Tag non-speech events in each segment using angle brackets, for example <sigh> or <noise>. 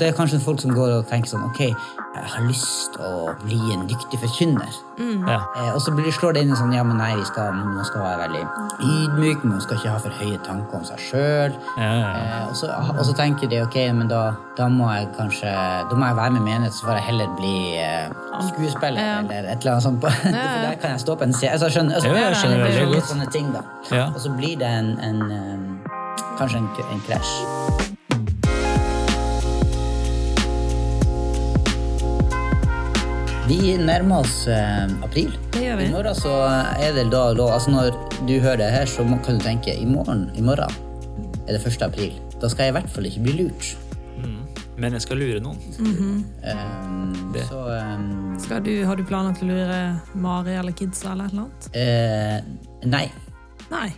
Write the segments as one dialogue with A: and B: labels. A: Det er kanskje folk som går og tenker sånn Ok, jeg har lyst til å bli en dyktig forkynner.
B: Ja.
A: Eh, og så blir, slår det inn i sånn Ja, men nei, vi skal, man skal være veldig ydmyk, man skal ikke ha for høye tanker om seg sjøl.
B: Ja, ja, ja.
A: Eh, og, så- og så tenker de ok, men da, da må jeg kanskje Da må jeg være med i menighet, så får jeg heller bli eh, skuespiller eller et eller annet sånt. På. <laughs> For der kan jeg stå på en scene. Altså, jeg skjønner, altså,
B: Jo, jeg skjønner
A: det er
B: veldig
A: litt
B: godt.
A: Sånne ting, da.
B: Ja.
A: Og så blir det en, en eh, Kanskje en, en krasj. Vi nærmer oss eh, april.
C: Det gjør vi.
A: I morgen så er det da lov Altså Når du hører det her, så må- kan du tenke i morgen, i morgen er det 1. april. Da skal jeg i hvert fall ikke bli lurt.
B: Mm. Men jeg skal lure noen.
A: Um,
B: Det.
A: så um,
C: Skal du, har du planer til å lure Mari eller kidsa eller et eller annet?
A: eh, Nei.
C: Nei.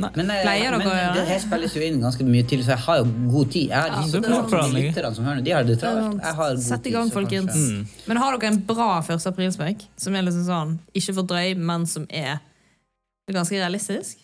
A: Men, eh,
C: Pleier dere
A: men
C: å gjøre
A: det
C: det?
A: her spilles jo inn ganske mye til, så jeg har jo god tid. Jeg har
B: det er
A: de,
B: sant.
A: de lytterne som hører nå, de har det
C: Det er
A: travelt. Jeg har
C: sant.
A: god
C: Sett i
A: tid,
C: gang,
A: så kanskje-
C: folkens.
B: Mm.
C: Men har dere en bra 1. aprilspøk? Som er liksom sånn, ikke for drøy, men som er ganske realistisk?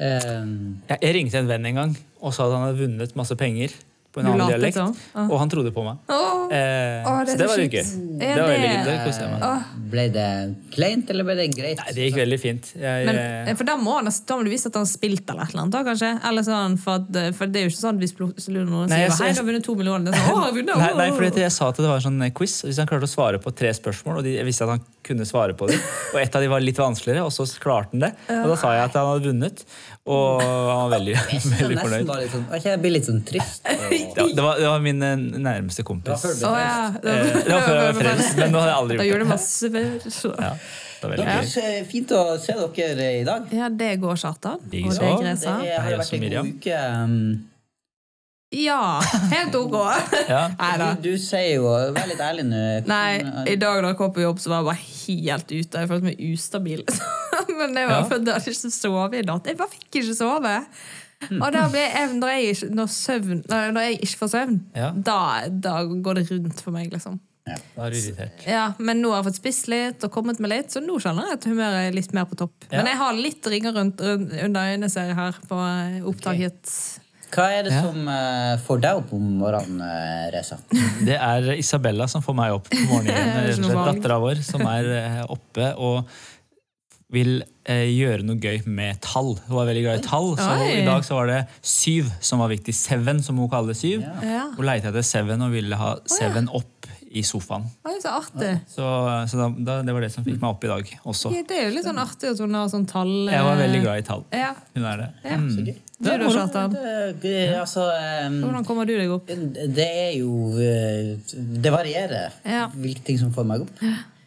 A: Um,
B: Jeg, jeg ringte en venn en gang og sa at han hadde vunnet masse penger på en
C: Du
B: annen
C: latet
B: dialekt,
C: som. Ah.
B: og han trodde på meg.
C: Åh,
B: Eh,
C: Åh, det er
B: så det
C: så
B: var litt gøy.
C: shit.
B: Det
C: Er
B: var veldig
C: det-
B: gøy. Det koste jeg meg.
A: ble det kleint, eller ble det greit?
B: Nei, det gikk veldig fint. Jeg,
C: Men,
B: eh,
C: eh, for da må, han- da må du vise at han har spilt eller et eller annet, da, kanskje? Eller sånn, for, at, eh, for det er jo ikke sånn hvis plutselig noen
B: Nei, altså, jeg-
C: sier Hei, du har vunnet to millioner. Det er
B: <laughs>
C: sånn, Åh, jeg vunnet,
B: Nei, nei
C: åh,
B: fordi
C: åh».
B: at jeg sa at det var en sånn quiz. og Hvis han klarte å svare på tre spørsmål, og de, jeg visste at han kunne svare på
C: <laughs>
B: dem, og ett av de var litt vanskeligere, og så klarte han det. Og da sa jeg at han hadde vunnet, og han var <laughs> veldig,
A: Jeg
B: veldig
A: nesten
B: fornøyd.
A: bare litt sånn, ok, jeg blir litt sånn
C: <laughs>
A: trist. og-
B: Det var, det var, det var min eh, nærmeste kompis.
A: før du ble
C: Å, ja.
B: Eh, <laughs> Det var før jeg var frelst, men nå hadde jeg
C: Da
B: aldri
C: gjorde det
B: gjort det.
C: masse før.
B: Ja, det var veldig
A: Ja.
B: gøy.
A: Så Fint å se dere i dag.
C: Ja, det går, Kjartan. Og
B: Digg så.
C: det,
A: Det
C: Gresa.
A: har
B: Hei,
A: vært
B: også
A: en god
B: Miriam.
A: uke. um,
C: Ja, helt ok.
B: <laughs> Ja.
C: Nei da.
A: Du, du sier jo Vær litt ærlig nå. hvordan-
C: Nei, i dag da jeg kom på jobb, så var jeg bare helt ute. Jeg følte meg ustabil. <laughs> Men jeg var
B: Ja.
C: for jeg hadde ikke sovet i natt. Jeg bare fikk ikke sove.
B: Mm.
C: Og da ble jeg, når, jeg ikke, når, søvn, nei, når jeg ikke får søvn,
B: Ja.
C: da, da går det rundt for meg, liksom.
B: Da er du irritert.
C: Ja, Men nå har jeg fått spist litt og kommet meg litt, så nå kjenner jeg at humøret er litt mer på topp. Men jeg har litt ringer rundt, rundt under øynene, ser jeg her, på eh, opptaket.
A: Hva er det som eh, får deg opp om morgenen, eh, Reza?
B: Det er Isabella som får meg opp på morgenen.
C: <laughs> Det er
B: rett og
C: ikke noe
B: slett
C: valg.
B: Dattera vår som er eh, oppe og vil eh, gjøre noe gøy med tall. Hun er veldig glad i tall, så
C: Oi.
B: i dag så var det syv som var viktig. Seven, som hun kaller det. syv.
C: Ja.
B: Hun leita etter seven og ville ha seven opp i sofaen.
C: Oi, så artig.
B: Så, så da, da, det var det som fikk meg opp i dag også.
C: Ja, Det er jo litt sånn artig at hun har sånn tall.
B: Jeg var veldig glad i tall.
C: Ja.
B: Hun er Mm. det.
C: Ja.
B: Mm.
C: Du da, Kjartan?
A: Det, det, altså, um,
C: Hvordan kommer du deg opp?
A: det er jo eh, Det varierer
C: Ja.
A: hvilke ting som får meg opp.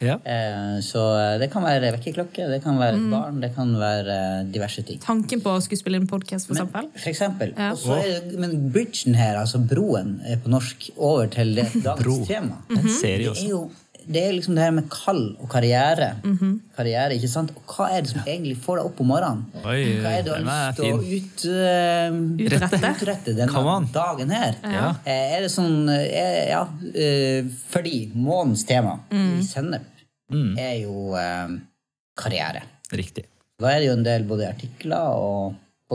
B: Ja.
A: Eh, Så eh, det kan være vekkerklokke, det kan være
C: Mm.
A: et barn, det kan være eh, diverse ting.
C: Tanken på å skulle spille inn podkast, for eksempel?
A: For eksempel.
C: Ja.
A: Og så er det, men bridgen her, altså broen er på norsk, over til
B: <laughs>
A: det dagens
B: Bro.
A: tema.
C: Mm-hmm.
B: En
C: Mhm.
B: serie
A: Det er
B: også.
A: jo det er liksom det her med kall og karriere.
C: Mm-hmm.
A: Karriere, ikke sant? Og hva er det som egentlig får deg opp om morgenen?
B: Oi,
A: hva er det du har
B: den er
A: lyst til å
B: fin.
A: ut, eh,
C: Utrette.
A: utrette denne
B: Come on.
A: dagen her?
B: Ja.
A: Eh, er det sånn eh, Ja, eh, fordi månens tema
C: Mm.
A: i Sennep
B: Mm.
A: er jo eh, karriere.
B: Riktig.
A: Da er det jo en del både artikler og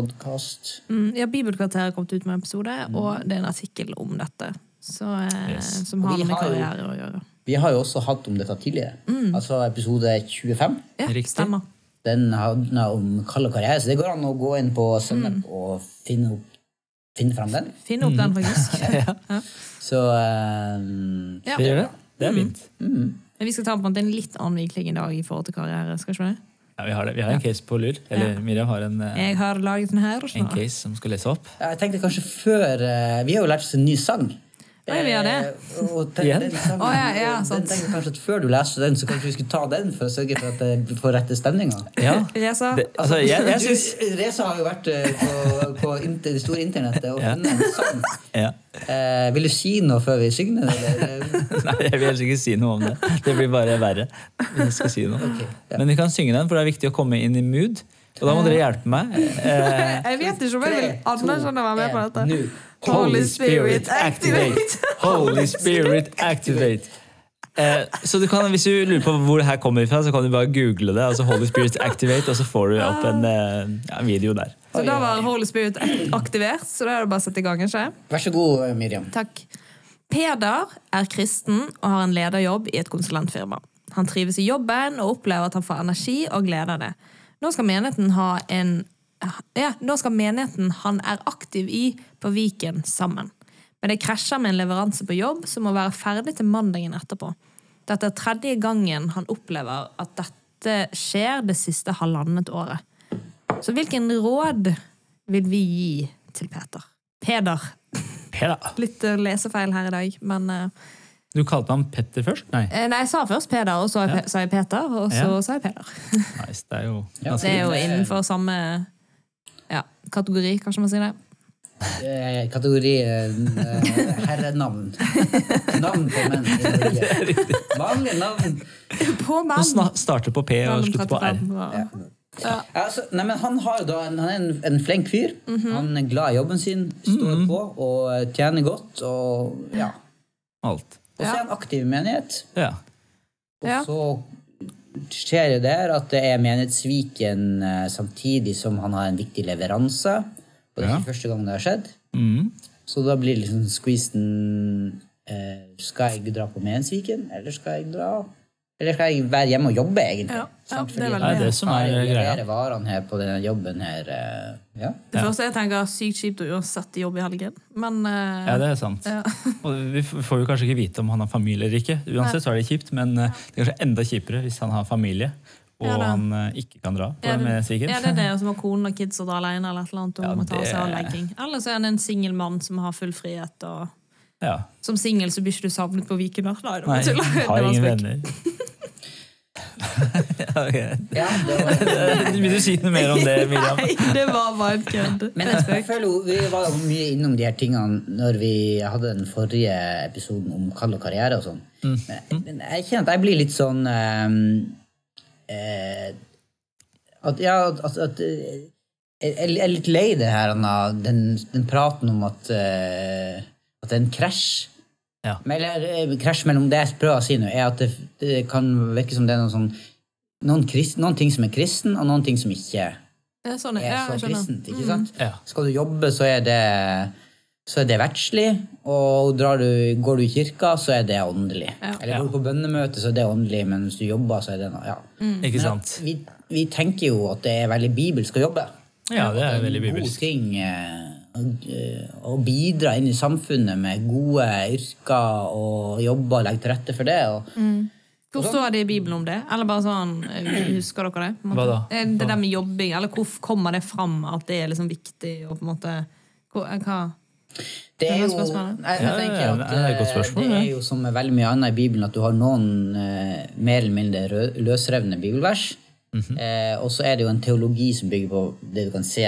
A: podkast.
C: Mm, ja, Bibelkvarteret har kommet ut med en episode, og det er en artikkel om dette. Så, eh,
B: Mm. Yes.
C: Som
A: Og
C: har
A: vi
C: med
A: har jo-
C: karriere å gjøre.
A: Vi har jo også hatt om dette tidligere.
C: Mm.
A: Altså episode 25.
C: Ja,
B: Riktig.
C: stemmer.
A: Den handler om kall og karriere, så det går an å gå inn på Sennep
C: Mm.
A: og finne, opp, finne fram den.
C: Finn opp den,
B: Mm. <laughs>
C: faktisk.
A: Så eh,
C: Ja.
B: Det gjør det. Det er fint.
C: Men vi skal ta på en måte en litt annen vinkling i dag i forhold til karriere. skal ikke vi det?
B: Ja, vi har det. Vi har en case på lur. Eller Miriam har en, eh,
C: Jeg har laget den her.
B: en case som skal lese
C: <laughs>
B: opp.
A: jeg tenkte kanskje før eh, Vi har jo lært oss en ny sang.
C: Oi, vi har det.
A: Eh, og ten,
B: Igjen?
A: den sangen,
C: Å, ja, ja,
A: den
C: sant.
A: tenkte jeg kanskje at Før du leste den, så kanskje vi skulle ta den for å sørge for at det får rette stemninga.
B: Ja.
C: Reza,
B: Det, altså, jeg, jeg syns
A: Reza har jo vært eh, på, på inter, det store internettet og funnet en sang.
B: ja. <laughs>
A: Eh, vil du si noe før vi synger den? eller?
B: Nei, jeg vil helst ikke si noe om det. Det blir bare verre. hvis Jeg skal si noe. Men vi kan synge den, for det er viktig å komme inn i mood. Og da må dere hjelpe meg. Eh,
C: jeg vet ikke om <laughs> jeg vil
A: Tre, to,
C: anerkjenne å være med på
A: en,
C: dette.
A: nå.
C: Holy Spirit, activate!
B: Holy Spirit, activate! Eh, så du kan, Hvis du lurer på hvor det her kommer fra, så kan du bare google det. altså Holy Spirit Activate, Og så får du opp en eh, ja, video der.
C: Så da var Holy Spirit aktivert, så da er det bare å sette i gang. ikke?
A: Vær så god, Miriam.
C: Takk. Peder er kristen og har en lederjobb i et konsulentfirma. Han trives i jobben og opplever at han får energi og glede av det. Nå skal menigheten ha en ja, nå skal menigheten han er aktiv i på Viken sammen. Men det krasjer med en leveranse på jobb som må være ferdig til mandagen etterpå. Dette er tredje gangen han opplever at dette skjer det siste halvannet året. Så hvilken råd vil vi gi til Peter? Peder.
B: Peder.
C: Litt eh, lesefeil her i dag, men eh,
B: Du kalte ham Petter først? Nei.
C: eh, Nei, jeg sa først Peder, og så
B: Ja.
C: sa jeg Peter, og så
B: Ja.
C: sa jeg Peder.
B: Nice, det er jo
A: Ja.
C: Det er jo innenfor samme ja, kategori, kanskje man sier det.
A: Eh, Kategori eh, herrenavn. Navn på menn i Norge. Vanlige navn.
C: På
B: Nå
C: menn!
B: sna- starter på P og slutter på R.
C: Ja.
A: Altså, nei, men han, har da, han er en, en flink fyr.
C: Mhm.
A: Han er glad i jobben sin, står på og tjener godt. Og ja.
B: Alt.
A: Og så er han aktiv i menighet.
B: Ja.
A: Og
C: Ja.
A: så skjer det der at det er menighetssviken eh, samtidig som han har en viktig leveranse. Og det er ikke første gang det har skjedd.
B: Mm.
A: Så da blir det liksom squeezen eh, Skal jeg dra på Mensviken, eller skal jeg dra Eller skal jeg være hjemme og jobbe, egentlig?
C: Ja, ja,
A: Sant?
C: det er
A: Fordi
C: veldig-
B: Det er det
A: jeg
B: som
A: har
B: er
A: jo
B: greia.
A: levere varene her på denne jobben her. eh,
C: <laughs>
A: Ja.
C: Det første jeg tenker, er sykt kjipt å uansett jobb i helgen, men eh,
B: Ja, det er sant.
C: Ja.
B: <laughs> Og vi f- får jo kanskje ikke vite om han har familie eller ikke. Uansett så er det kjipt, men eh, det er kanskje enda kjipere hvis han har familie og
C: Ja da.
B: han eh, ikke kan dra på
C: er det-
B: med sviken.
C: Ja, det er det som har kone og kids og drar alene eller et eller annet, og
B: Ja,
C: må ta
B: det-
C: seg av legging. Eller så er han en singel mann som har full frihet. og...
B: <laughs> Ja.
C: Som singel så blir ikke du savnet på Viken. da. Nei, det var
B: Nei,
C: tull. Det var
B: har ingen
C: spøk.
B: venner. <laughs> Ja, ok. Eh,
A: ja det var,
B: Vil du si noe mer om det, Miriam?
C: Nei, det var bare en kødd.
A: men jeg føler jo, vi var jo mye innom de her tingene når vi hadde den forrige episoden om kall og karriere og sånn. Men, men jeg kjenner at jeg blir litt sånn eh, eh, At, ja, at, at eh, jeg, jeg er litt lei det her, Anna, den, den praten om at, eh, at det er en krasj.
B: Ja.
A: Men- Eller eh, krasj mellom det jeg prøver å si nå, er at det, det kan virke som det er noen sånn noen, krist, noen ting som er kristen, og noen ting som ikke
C: Ja, sånn,
A: er
C: ja,
A: så
C: jeg skjønner. Mm.
A: kristent. ikke sant?
B: Ja.
A: Skal du jobbe, så er det så er det verdslig, og drar du, går du i kirka, så er det åndelig.
C: Ja.
A: Eller går du på bønnemøte, så er det åndelig, men hvis du jobber, så er det noe ja.
C: Mm.
B: Ikke sant?
A: Vi, vi tenker jo at det er veldig bibelsk å jobbe.
C: Mm.
B: Ja, det er veldig
A: God
B: bibelsk.
A: ting eh, og, eh, å bidra inn i samfunnet med gode yrker og jobber og legge til rette for det. Og,
C: Hvor står det i Bibelen om det? Eller bare sånn, eh, Husker dere det? på en måte?
B: Hva da?
C: Eh, Det der med jobbing, eller hvor kommer det fram at det er liksom viktig? og på en måte... Hvor, eh, hva?
A: Det er
C: Det
A: jo,
C: var spørsmålet.
A: jeg, jeg
B: Ja,
A: tenker
B: ja,
A: at
B: det er et godt
A: eh,
B: spørsmål,
A: det er
B: ja.
A: jo som med veldig mye annet i Bibelen, at du har noen eh, mer eller mindre rø- løsrevne bibelvers.
B: Mhm.
A: eh, og så er det jo en teologi som bygger på det du kan se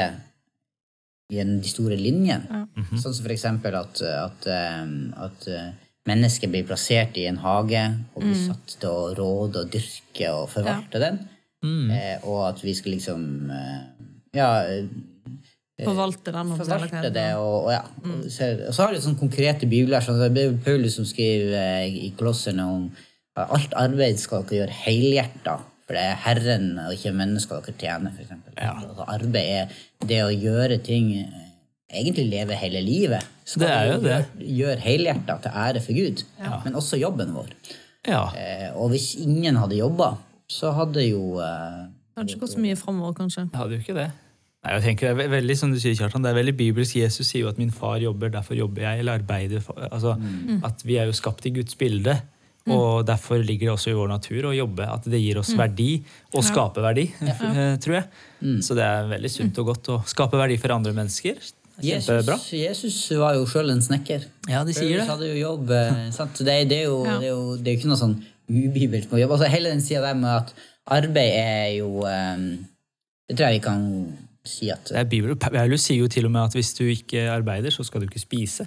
A: i en, de store linjene.
B: Mhm.
A: Sånn som for eksempel at, at, eh, at eh, mennesket blir plassert i en hage og blir satt til å råde og dyrke og forvalte den.
B: Mm.
A: Eh, og at vi skal liksom eh, Ja. eh,
C: Forvalte den? om-
A: forvalte det. Og, og, ja. og så- og så har du sånne konkrete bibler. Sånn, det er Paulus som skriver eh, i Kolossene om at alt arbeid skal dere gjøre helhjerta, for det er Herren og ikke mennesker dere tjener. For eksempel. altså, arbeid er det å gjøre ting eh, Egentlig leve hele livet. Skal
B: Det er jo
A: vi gjøre- Gjøre helhjerta til ære for Gud, men også jobben vår.
B: Ja.
A: Eh, og hvis ingen hadde jobba, så hadde jo eh,
C: Det hadde ikke gått så mye framover, kanskje.
B: Jeg hadde jo ikke det. Nei, jeg tenker det er ve- veldig, som du sier, Kjartan, det er veldig bibelsk. Jesus sier jo at 'min far jobber, derfor jobber jeg', eller arbeider. For, altså, At vi er jo skapt i Guds bilde, og derfor ligger det også i vår natur å jobbe. At det gir oss verdi, og skaper verdi, eh, tror jeg. Så det er veldig sunt og godt å skape verdi for andre mennesker. Kjempebra.
A: Jesus, Jesus var jo sjøl en snekker.
B: Ja, de sier
A: Paulus
B: det.
A: hadde jo jobb.
C: <laughs>
A: eh, Sant? Så Det, er- det, er jo,
C: Ja.
A: det, er jo, det er jo ikke noe sånn ubibelsk med å jobbe. Altså, hele den sida der med at arbeid er jo eh, Det tror jeg vi kan si at
B: Det er Bibelen. Paulus sier jo til og med at hvis du ikke arbeider, så skal du ikke spise.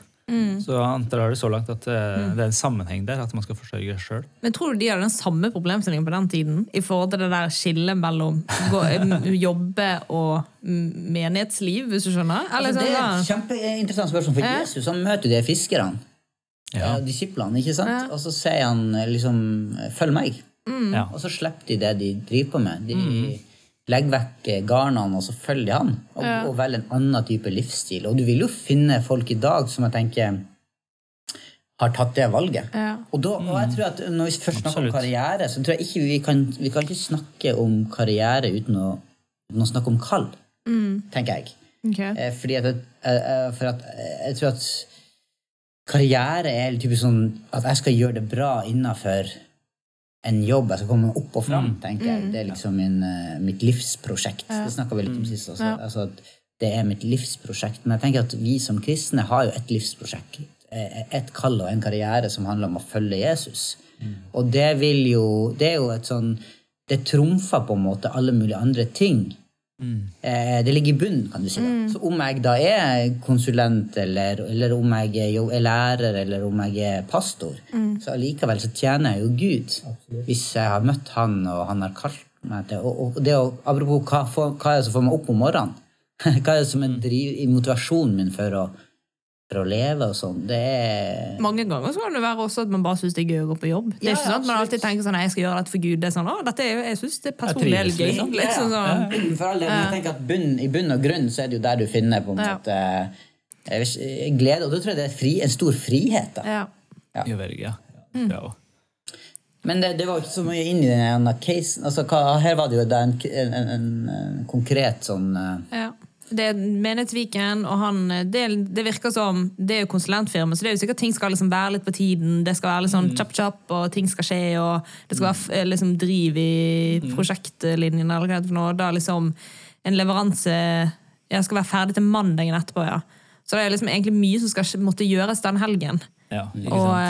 B: Så han drar det så langt at eh, det er en sammenheng der, at man skal forsørge seg sjøl.
C: Men tror du de hadde den samme problemstillingen på den tiden? I forhold til det der skillet mellom gå, eh, jobbe og mm, menighetsliv, hvis du skjønner?
A: Altså,
C: Eller sånn,
A: det er
C: da-
A: et kjempeinteressant spørsmål, for
C: Ja.
A: Jesus han møter jo de fiskerne. Ja. Disiplene, ikke sant?
C: Ja.
A: Og så sier han eh, liksom 'følg meg',
B: Ja.
A: og så slipper de det de driver på med. De legger vekk eh, garnene, og så følger de han. Og, og velger en annen type livsstil. Og du vil jo finne folk i dag som jeg tenker har tatt det valget.
C: Ja.
A: Og, da, og jeg tror at når vi først snakker om karriere, så tror jeg ikke vi kan vi kan ikke snakke om karriere uten å, uten å snakke om kall, tenker jeg.
C: Ok.
A: Eh, Fordi at, jeg- eh, eh, for at eh, jeg tror at karriere er litt typisk sånn at jeg skal gjøre det bra innafor en jobb. Jeg skal komme opp og fram, tenker jeg. Det er liksom min, eh, mitt livsprosjekt. Det snakka vi litt om sist. Altså. Altså, at det er mitt livsprosjekt. Men jeg tenker at vi som kristne har jo et livsprosjekt. eh, Et kall og en karriere som handler om å følge Jesus. Og det vil jo Det er jo et sånn Det trumfer på en måte alle mulige andre ting. Eh, Det ligger i bunnen, kan du si. Da. Så om jeg da er konsulent, eller, eller om jeg er, jo, er lærer, eller om jeg er pastor, så allikevel så tjener jeg jo Gud. Hvis jeg har møtt han, og han har kalt meg til Og, og det å, apropos hva, får- hva er det som får meg opp om morgenen? <laughs> hva er det som er driv, i motivasjonen min for å, for å leve og sånn? Det er
C: Mange ganger så kan det være også at man bare syns det er gøy å gå på jobb. Det
A: Ja,
C: er
A: ja,
C: ikke sånn at man
A: absolutt.
C: alltid tenker sånn, «Nei, jeg skal gjøre dette for Gud. Det er sånn, å, dette er, jo- jeg syns det er personlig
B: Jeg trives,
C: gøy.
B: liksom.
C: Liksom sånn.
A: For all del, men jeg tenker at bunn, i bunn og grunn så er det jo der du finner på en
C: Ja.
A: måte eh, glede. Og da tror jeg det er fri, en stor frihet. da.
C: Ja.
A: Ja.
B: I Belgia. Ja. og-
A: Men det, det var jo ikke så mye inn i denne casen. Altså, hva, her var det jo da en, en, en, en konkret sånn eh,
C: Ja. Det er Menighetsviken, og han det, det virker som Det er jo konsulentfirma, så det er jo sikkert ting skal liksom være litt på tiden. Det skal være litt
A: Mm.
C: sånn kjapp, kjapp, og ting skal skje, og det skal være f- eh, liksom driv i
A: Mm.
C: prosjektlinjen, eller hva det heter for noe. Da liksom en leveranse Jeg skal være ferdig til mandagen etterpå, ja. Så det er liksom egentlig mye som skal skje- måtte gjøres den helgen.
B: ja, ikke
C: Og
B: sant?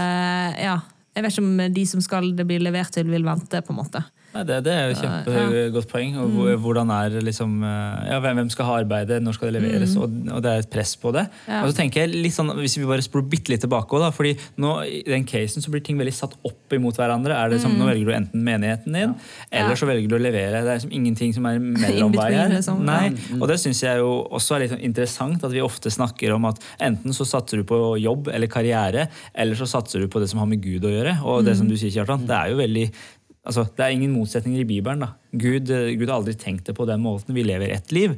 C: eh, ja. Jeg vet ikke om de som skal det bli levert til, vil vente, på en måte.
B: Nei, det, det er jo kjempegodt poeng. Og hvor- hvordan er liksom, eh, ja, hvem hvem skal ha arbeidet, når skal det leveres, og, og det er et press på det. Og så tenker jeg litt sånn, Hvis vi bare spor bitte litt tilbake, også, da, fordi nå i den casen så blir ting veldig satt opp imot hverandre. Er det som, Nå velger du enten menigheten din, eller så velger du å levere. Det er liksom ingenting som er
C: <laughs>
B: mellomvei
C: between,
B: her.
C: liksom.
B: Nei, og det syns jeg jo også er litt sånn interessant, at vi ofte snakker om at enten så satser du på jobb eller karriere, eller så satser du på det som har med Gud å gjøre. Og det
C: Mm.
B: som du sier, Kjartan, det er jo veldig Altså, det er ingen motsetninger i Bibelen. da. Gud, eh, Gud har aldri tenkt det på den måten. Vi lever ett liv.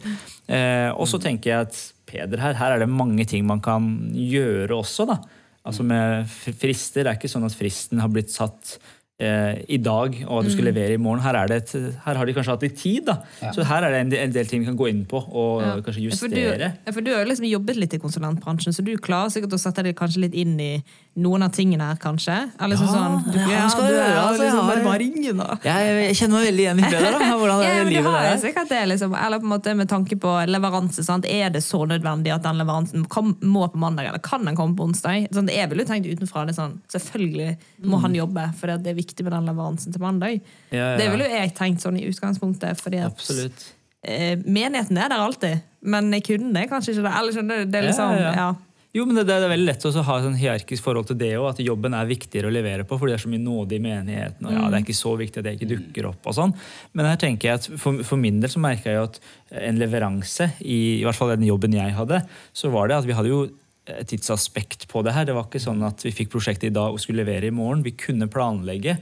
B: Eh, og
C: Mm.
B: så tenker jeg at Peder her, her er det mange ting man kan gjøre også. da. Altså med f- frister. Det er ikke sånn at fristen har blitt satt eh, i dag, og at du
C: Mm.
B: skal levere i morgen. Her, er det et, her har de kanskje hatt litt tid, da. Så her er det en del, en del ting vi kan gå inn på og kanskje
C: Ja, for
B: justere.
C: du- Ja, for du har jo liksom jobbet litt i konsulentbransjen, så du klarer sikkert å sette deg kanskje litt inn i noen av tingene her, kanskje? Eller liksom sånn, du,
B: ja, skal jeg gjøre, altså, jeg har-
C: ringen, da.
B: Jeg, kjenner meg veldig igjen i Peder. da. Hvordan
C: Ja, men du har jo sikkert det, liksom. Eller på en måte med tanke på leveranse. Sant? Er det så nødvendig at den leveransen kom, må på mandag, eller kan den komme på onsdag? Sånn, jeg ville jo tenkt utenfra det sånn, selvfølgelig må han jobbe, for det er viktig med den leveransen til mandag.
B: Mm. Ja, ja,
C: Det
B: ja.
C: ville jo jeg tenkt sånn i utgangspunktet, fordi at
B: Absolutt.
C: eh, menigheten er der alltid, men kunden er kanskje ikke det. Eller skjønner du, det er liksom,
B: Ja,
C: ja,
B: ja, ja. Jo, men det, det er veldig lett også å ha et sånn hierarkisk forhold til det òg. At jobben er viktigere å levere på, fordi det er så mye nåde i menigheten. og ja,
C: Mm.
B: det er ikke så viktig at jeg ikke dukker opp og sånn. Men her tenker jeg at for, for min del så merka jeg jo at en leveranse, i, i hvert fall den jobben jeg hadde, så var det at vi hadde jo et tidsaspekt på det her. Det var ikke sånn at vi fikk prosjektet i dag og skulle levere i morgen. Vi kunne planlegge.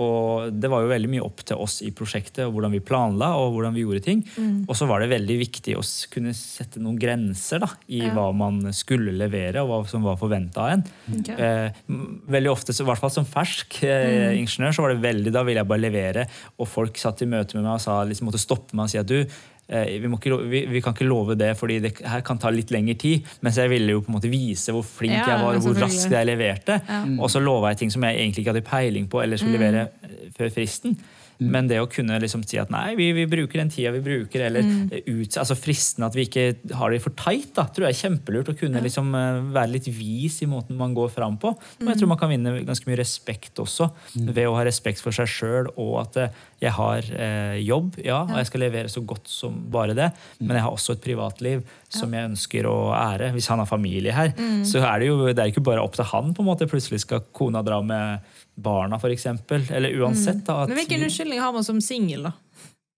B: Og det var jo veldig mye opp til oss i prosjektet og hvordan vi planla og hvordan vi gjorde ting. Og så var det veldig viktig å s- kunne sette noen grenser da, i hva man skulle levere og hva som var forventa av en.
C: Ok.
B: Eh, m- veldig ofte, så, i hvert fall som fersk eh,
C: Mm.
B: ingeniør, så var det veldig da ville jeg bare levere, og folk satt i møte med meg og sa, liksom, måtte stoppe meg og si at du eh, vi, må ikke, lo- vi, vi kan ikke love det, fordi det k- her kan ta litt lengre tid. Mens jeg ville jo på en måte vise hvor flink
C: Ja,
B: jeg var, og hvor
C: selvfølgelig.
B: raskt jeg leverte. Og så lova jeg ting som jeg egentlig ikke hadde peiling på eller skulle levere eh, før fristen. Men det å kunne liksom si at nei, vi, vi bruker den tida vi bruker, eller eh, ut, altså fristen at vi ikke har det for tight, da, tror jeg er kjempelurt. Å kunne liksom eh, være litt vis i måten man går fram på. Men jeg tror man kan vinne ganske mye respekt også, ved å ha respekt for seg sjøl, og at eh, jeg har eh, jobb, ja, og jeg skal levere så godt som bare det, men jeg har også et privatliv som jeg ønsker å ære. Hvis han har familie her, så er det jo det er ikke bare opp til han. på en måte. Plutselig skal kona dra med barna, f.eks. Eller uansett. da. At
C: Men hvilken
B: vi-
C: unnskyldning har man som singel, da?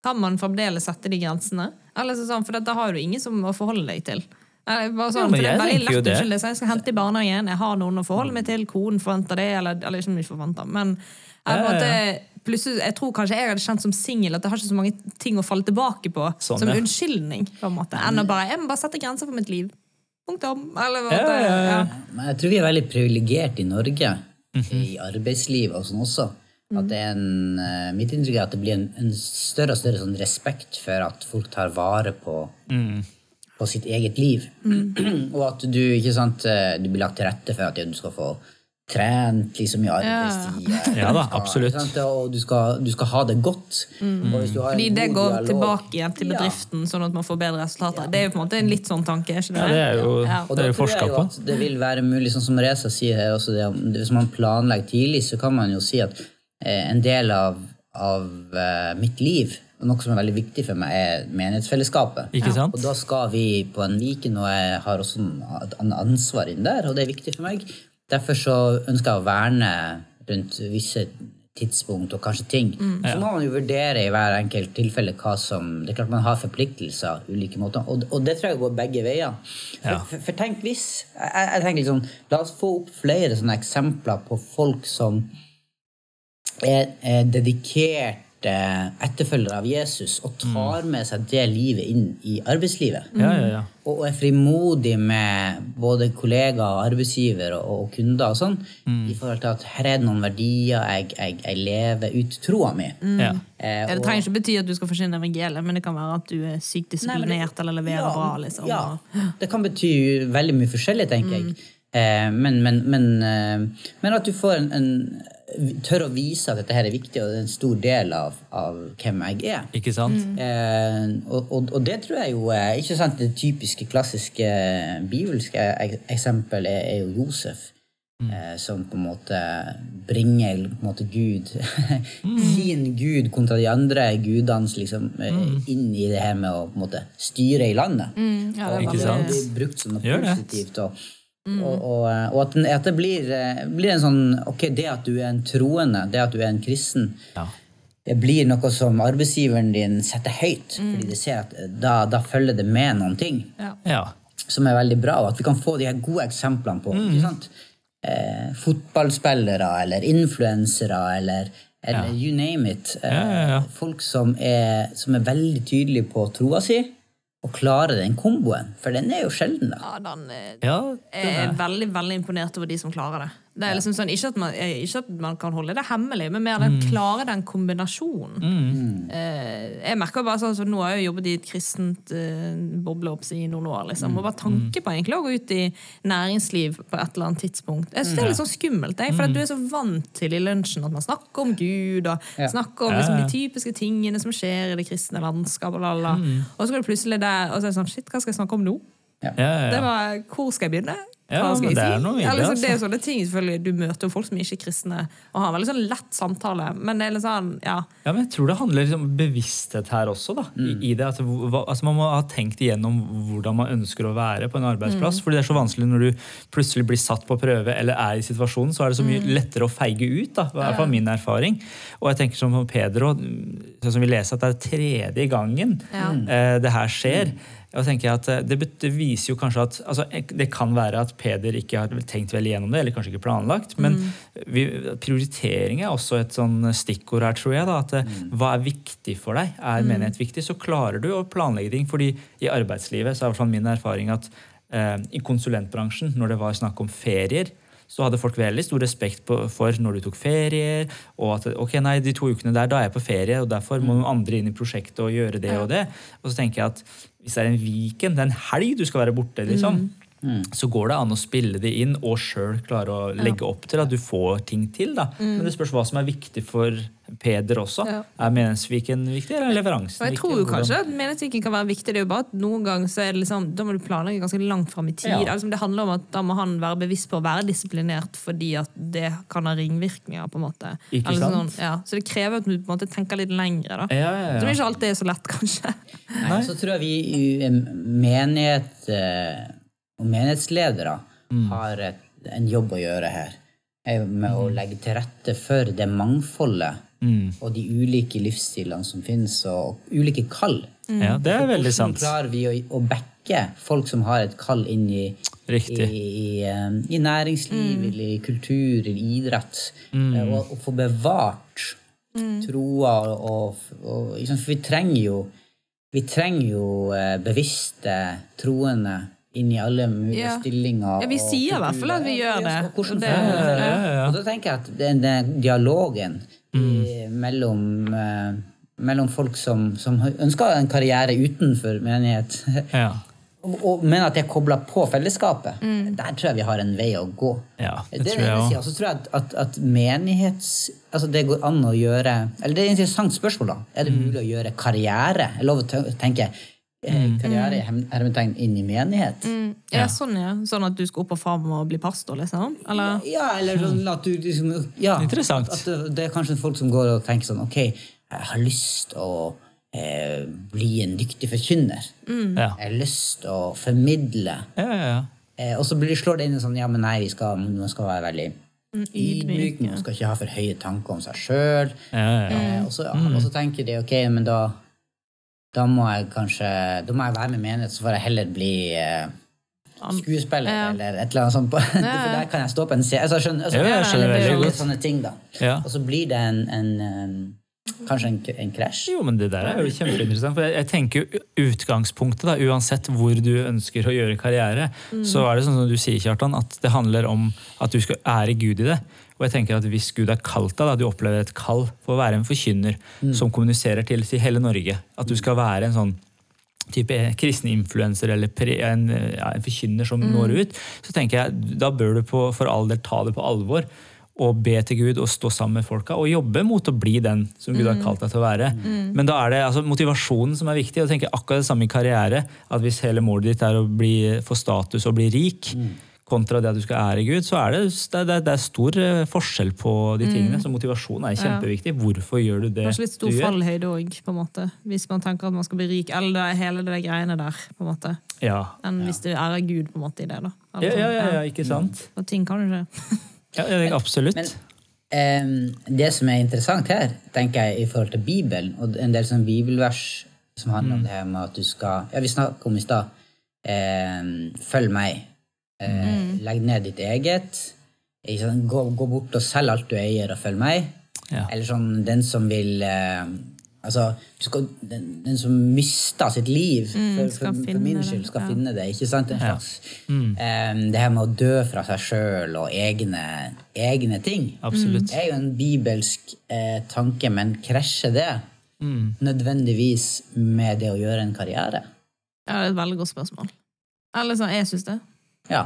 C: Kan man fremdeles sette de grensene? Eller så sånn, For da har du ingen som å forholde deg til. Eller Bare sånn,
B: Ja, men
C: for det
B: jeg
C: er
B: tenker jo
C: veldig lett å
B: det.
C: unnskylde seg. Jeg skal hente i barnehagen, jeg har noen å forholde meg til, konen forventer det, eller, eller ikke om de forventer, men jeg, på en
B: Ja, ja,
C: måte, plutselig, jeg tror kanskje jeg hadde kjent som singel at jeg har ikke så mange ting å falle tilbake på
B: Sånn,
C: som
B: ja.
C: unnskyldning. på en måte. Enn å bare jeg må bare sette grenser for mitt liv. Punktum. Eller hva
B: Ja,
C: det
B: ja, ja.
A: Men jeg tror vi er veldig privilegerte i Norge,
B: Mhm.
A: i arbeidsliv og sånn også. At det er en, eh, mitt inntrykk er at det blir en, en større og større sånn respekt for at folk tar vare på,
B: Mm.
A: på sitt eget liv.
C: Mm.
A: <clears throat> og at du, ikke sant, eh, du blir lagt til rette for at ja, du skal få trent liksom i arbeidstida.
B: Ja da,
A: Du skal-
B: absolutt.
A: ikke sant, Og du skal, du skal ha det godt. Og hvis du har en
C: Mm. Fordi det
A: god
C: går
A: dialog-
C: tilbake igjen til
A: Ja.
C: bedriften, sånn at man får bedre resultater. Det er jo på en måte en litt sånn tanke. er ikke det?
B: Ja, det er jo,
C: Ja.
A: Og
B: det
A: da
B: er jo
A: tror jeg
B: forska
A: jo
B: på.
A: at det vil være mulig, sånn som Reza sier her også, det, om- hvis man planlegger tidlig, så kan man jo si at eh, en del av, av eh, mitt liv, og noe som er veldig viktig for meg, er menighetsfellesskapet.
B: Ikke sant?
A: Og da skal vi på en Viken, og jeg har også en- et annet ansvar inn der, og det er viktig for meg. Derfor så ønsker jeg å verne rundt visse tidspunkt og kanskje ting. Så må man jo vurdere i hver enkelt tilfelle hva som Det er klart man har forpliktelser ulike måter, og, og det tror jeg går begge veier. For, for, for tenk hvis jeg, jeg tenker liksom, La oss få opp flere sånne eksempler på folk som er, er dedikerte etterfølgere av Jesus og tar med seg det livet inn i arbeidslivet
B: Ja, ja, ja.
A: og, og er frimodig med både kollegaer, arbeidsgiver og, og kunder og sånn, i forhold til at her er det noen verdier jeg, jeg, jeg lever ut troa mi.
B: ja.
A: Eh,
C: Ja, Mm. det
A: og-
C: trenger ikke bety at du skal forsyne evangeliet, men det kan være at du er sykt
A: Nei, men
C: disiplinert eller leverer
A: ja,
C: bra. liksom.
A: Ja,
C: og- Mm.
A: det kan bety veldig mye forskjellig, tenker jeg. Eh, men, men, men, eh, men at du får en, en tør å vise at dette her er viktig, og det er en stor del av, av hvem jeg er.
B: Ikke sant?
A: Eh, og, og, og det tror jeg jo eh, ikke sant, Det typiske, klassiske eh, bibelske ek- eksempel er, er jo Josef.
B: Mm.
A: Eh, som på en måte bringer på en måte Gud, <laughs>
B: Mm.
A: sin Gud kontra de andre gudenes, liksom, eh,
B: Mm.
A: inn i det her med å på en måte styre i landet.
C: Mm, ja, det
A: Og
C: er Mm.
A: at
B: Ikke
A: det
B: sant?
A: blir brukt som noe
B: Gjør det.
A: positivt. Og, og, og, og at, den, at det blir, eh, blir en sånn Ok, det at du er en troende, det at du er en kristen,
B: Ja.
A: det blir noe som arbeidsgiveren din setter høyt,
B: Mm.
A: fordi de ser at eh, da, da følger det med noen ting
C: Ja.
B: ja.
A: som er veldig bra, og at vi kan få de her gode eksemplene på.
B: Mm.
A: ikke sant? Eh, fotballspillere eller influensere eller, eller you name it. Eh,
B: Ja, ja, ja.
A: Folk som er, som er veldig tydelige på troa si, og klarer den komboen, for den er jo sjelden, da.
C: Ja, den eh,
B: ja.
C: jeg er veldig veldig imponert over de som klarer det. Det er liksom sånn, Ikke at man, eh, ikke at man kan holde det hemmelig, men mer
B: Mm.
C: den klare den kombinasjonen. Eh, jeg merker bare sånn, så Nå har jeg jo jobbet i et kristent eh, boble opp i noen år.
B: Mm.
C: liksom, Og bare tanke på egentlig å gå ut i næringsliv på et eller annet tidspunkt. Jeg synes
B: Mm.
C: Det er litt sånn skummelt, jeg, for at du er så vant til i lunsjen at man snakker om Gud og snakker om
B: Ja,
C: liksom,
B: Mm. ja.
C: de typiske tingene som skjer i det kristne landskapet. Og, la, la. og så går du plutselig der, og så er det sånn Shit, hva skal jeg snakke om nå?
B: ja,
C: Det
B: ja.
C: var, hvor skal jeg begynne? Hva
B: Ja,
C: skal
B: men
C: jeg
B: det er
C: si?
B: noe i
C: Ja,
B: det,
C: liksom, det er jo
B: altså.
C: sånne ting, selvfølgelig. Du møter jo folk som ikke er kristne, og har en veldig sånn lett samtale. Men det er litt sånn, ja.
B: ja, men jeg tror det handler liksom om bevissthet her også. da, i, i det, altså, hva, altså Man må ha tenkt igjennom hvordan man ønsker å være på en arbeidsplass. fordi det er så vanskelig når du plutselig blir satt på prøve eller er i situasjonen, så er det så mye lettere å feige ut. da, i hvert fall min erfaring. Og jeg tenker som Pedro, sånn som vi leser at det er tredje gangen
C: Ja.
B: eh, det her skjer. Og tenker jeg at eh, det, bet- det viser jo kanskje at altså, ek- Det kan være at Peder ikke har tenkt vel igjennom det, eller kanskje ikke planlagt, men vi, prioritering er også et sånn stikkord her, tror jeg. da, at eh, Hva er viktig for deg? Er menighet viktig? Så klarer du å planlegge ting. fordi i arbeidslivet så er i hvert fall min erfaring at eh, i konsulentbransjen, når det var snakk om ferier, så hadde folk veldig stor respekt på, for når du tok ferier. og at ok, nei, de to ukene der, da er jeg på ferie, og derfor
C: Mm.
B: må noen andre inn i prosjektet og gjøre det og det. Og så tenker jeg at hvis det er en weekend, det er en helg du skal være borte,
C: Mm.
B: liksom, så går det an å spille det inn og sjøl klare å legge opp til at du får ting til. da. Men det spørs hva som er viktig for Peder også.
C: Mm. Ja.
B: Er menighetsviken viktig, eller er
C: Og
B: leveransen
C: jeg
B: viktig?
C: tror jo
B: Hvordan-
C: kanskje at menighetsviken kan være viktig. Det er jo bare at noen ganger så er det liksom, da må du planlegge ganske langt fram i tid.
B: Ja.
C: Altså, det handler om at da må han være bevisst på å være disiplinert, fordi at det kan ha ringvirkninger, på en måte.
B: Ikke
C: Eller sånn,
B: sant?
C: ja. Så det krever at du på en måte tenker litt lengre, da.
B: Ja, ja, ja.
C: Som ikke alltid er så lett, kanskje.
A: Nei, så tror jeg vi i menighet eh, og menighetsledere har et, en jobb å gjøre her. er Med å legge til rette for det mangfoldet og de ulike livsstilene som finnes, og, og ulike kall.
C: sånn-
B: Ja, det er veldig
A: Hvordan
C: Mm.
B: sant.
A: klarer vi å, å backe folk som har et kall inn i, i,
B: Riktig.
A: i, eh, i næringsliv,
C: Mm.
A: eller i kultur, eller i idrett,
B: Mm.
A: eh, og, og få bevart
C: Mm.
A: troa og, og, og ikke sant, For vi trenger jo vi trenger jo eh, bevisste, troende inn i alle mulige
C: Ja.
A: stillinger.
C: Ja, vi
A: og
C: sier i hvert fall at vi
A: kulturer.
C: gjør det.
A: Og hvordan
C: Det-
A: føles det?
B: Ja, ja, ja.
A: Og da tenker jeg at den, den dialogen i,
B: Mm.
A: mellom, eh, mellom folk som, som ønsker en karriere utenfor menighet, <laughs>
B: Ja.
A: og, og, men at det er kobla på fellesskapet, der tror jeg vi har en vei å gå.
B: Mm. Ja, det
A: er
B: tror
A: den
B: jeg
A: ene
B: også.
A: siden. Og så tror jeg at, at, at menighets... Altså det går an å gjøre... Eller det er et interessant spørsmål da. Er det
B: Mm.
A: mulig å gjøre karriere? Jeg lover å te- tenke eh,
B: Mm.
A: karriere i hem- hermetegn inn i menighet.
C: Mm. Ja, sånn, ja. Sånn at du skal opp og fram og bli pastor, liksom? Eller?
A: Ja, eller sånn at du liksom... Ja,
B: Interessant.
A: At, at det- det er kanskje folk som går og tenker sånn, ok, jeg har lyst å eh, bli en dyktig forkynner.
B: Ja.
A: Jeg har lyst å formidle.
B: Ja, ja, ja.
A: Eh, og så blir, slår det inn en sånn Ja, men nei, vi skal, man skal være veldig
C: ydmyk,
A: ydmyk. Man skal ikke ha for høye tanker om seg sjøl.
B: ja, ja, ja.
C: Mm.
A: Eh, og, så- og så tenker de ok, men da da må jeg kanskje da må jeg være med i menighet, så får jeg heller bli eh,
C: An-
A: skuespiller
C: Ja.
A: eller et eller annet sånt. På, <laughs>
C: ja.
A: for der kan jeg stå på en scene. Altså, jeg skjønner, altså,
B: Jo, jeg skjønner
A: det er
B: veldig
A: litt
B: godt.
A: Sånne ting, da.
B: Ja.
A: Og så blir det en, en, en kanskje en, en krasj.
B: Jo, men det der er jo kjempeinteressant. For jeg, jeg tenker jo utgangspunktet, da, uansett hvor du ønsker å gjøre karriere, så er det sånn som du sier, Kjartan, at det handler om at du skal ære Gud i det. Og jeg tenker at hvis Gud har kalt deg, da du opplever et kall på å være en forkynner som kommuniserer til til hele Norge, at du skal være en sånn type kristne influenser eller pre, en, ja, en forkynner som
C: Mm.
B: når ut, så tenker jeg da bør du på, for all del ta det på alvor og be til Gud og stå sammen med folka og jobbe mot å bli den som Gud har
C: Mm.
B: kalt deg til å være. Men da er det altså, motivasjonen som er viktig. og jeg tenker akkurat det samme i karriere. at Hvis hele målet ditt er å bli, få status og bli rik, kontra det at du skal ære Gud, så er det, det, er- det, er- det er stor eh, forskjell på de tingene. Så motivasjon er kjempeviktig. Hvorfor gjør du det
C: Mm. Kanskje
B: du
C: litt stor
B: gjør?
C: fallhøyde òg, på en måte. Hvis man tenker at man skal bli rik. Eller det, hele det greiene der, på en måte.
B: Ja.
C: Enn hvis du ærer Gud på en måte i det, da.
B: Ja,
C: Eller
B: ja,
C: sånn.
B: ja, ja, ikke sant?
C: Og ting kan du ikke.
B: Ja, ja, absolutt.
A: Men em, det som er interessant her, tenker jeg i forhold til Bibelen, og en del sånn bibelvers som handler om det her med at du skal Ja, vi snakket om i stad em, Følg meg. Eh, Legg ned ditt eget. Ikke sant? Gå, gå bort og selg alt du eier, og følg meg.
B: Ja.
A: Eller sånn den som vil eh, Altså, du skal, den, den som mister sitt liv for,
C: Mm, skal
A: for, for
C: finne
A: min
C: det,
A: skyld, skal
C: ja.
A: finne det. ikke sant? En slags, em, det her med å dø fra seg sjøl og egne, egne ting
B: Absolutt.
A: er jo en bibelsk eh, tanke, men krasjer det nødvendigvis med det å gjøre en karriere?
C: <laughs> Ja, det er et veldig godt spørsmål. Eller sånn, jeg syns det.
A: Ja.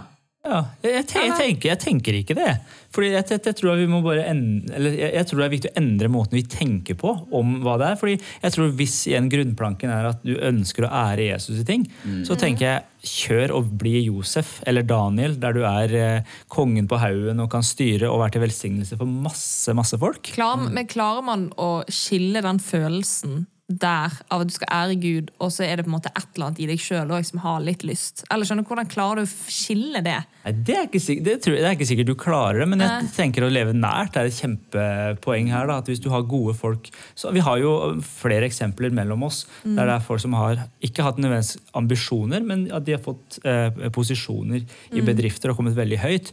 B: Ja, jeg, jeg, te- jeg, tenker, jeg tenker ikke det. Fordi jeg, jeg, jeg tror vi må bare en- eller jeg, jeg tror det er viktig å endre måten vi tenker på om hva det er. Fordi jeg tror hvis igjen grunnplanken er at du ønsker å ære Jesus i ting,
A: Mm.
B: så tenker jeg kjør og bli Josef eller Daniel, der du er eh, kongen på haugen og kan styre og være til velsignelse for masse, masse folk.
C: Klar, Men klarer man å skille den følelsen der av at du skal ære Gud, og så er det på en måte et eller annet i deg sjøl som har litt lyst? Eller skjønner du, Hvordan klarer du å skille det?
B: Nei, det er, ikke sikkert, det, tror, jeg- det er ikke sikkert du klarer det, men jeg tenker å leve nært er et kjempepoeng her. Da, at hvis du har gode folk så Vi har jo flere eksempler mellom oss der det er folk som har ikke hatt nødvendigvis ambisjoner, men at de har fått eh, posisjoner i bedrifter og kommet veldig høyt.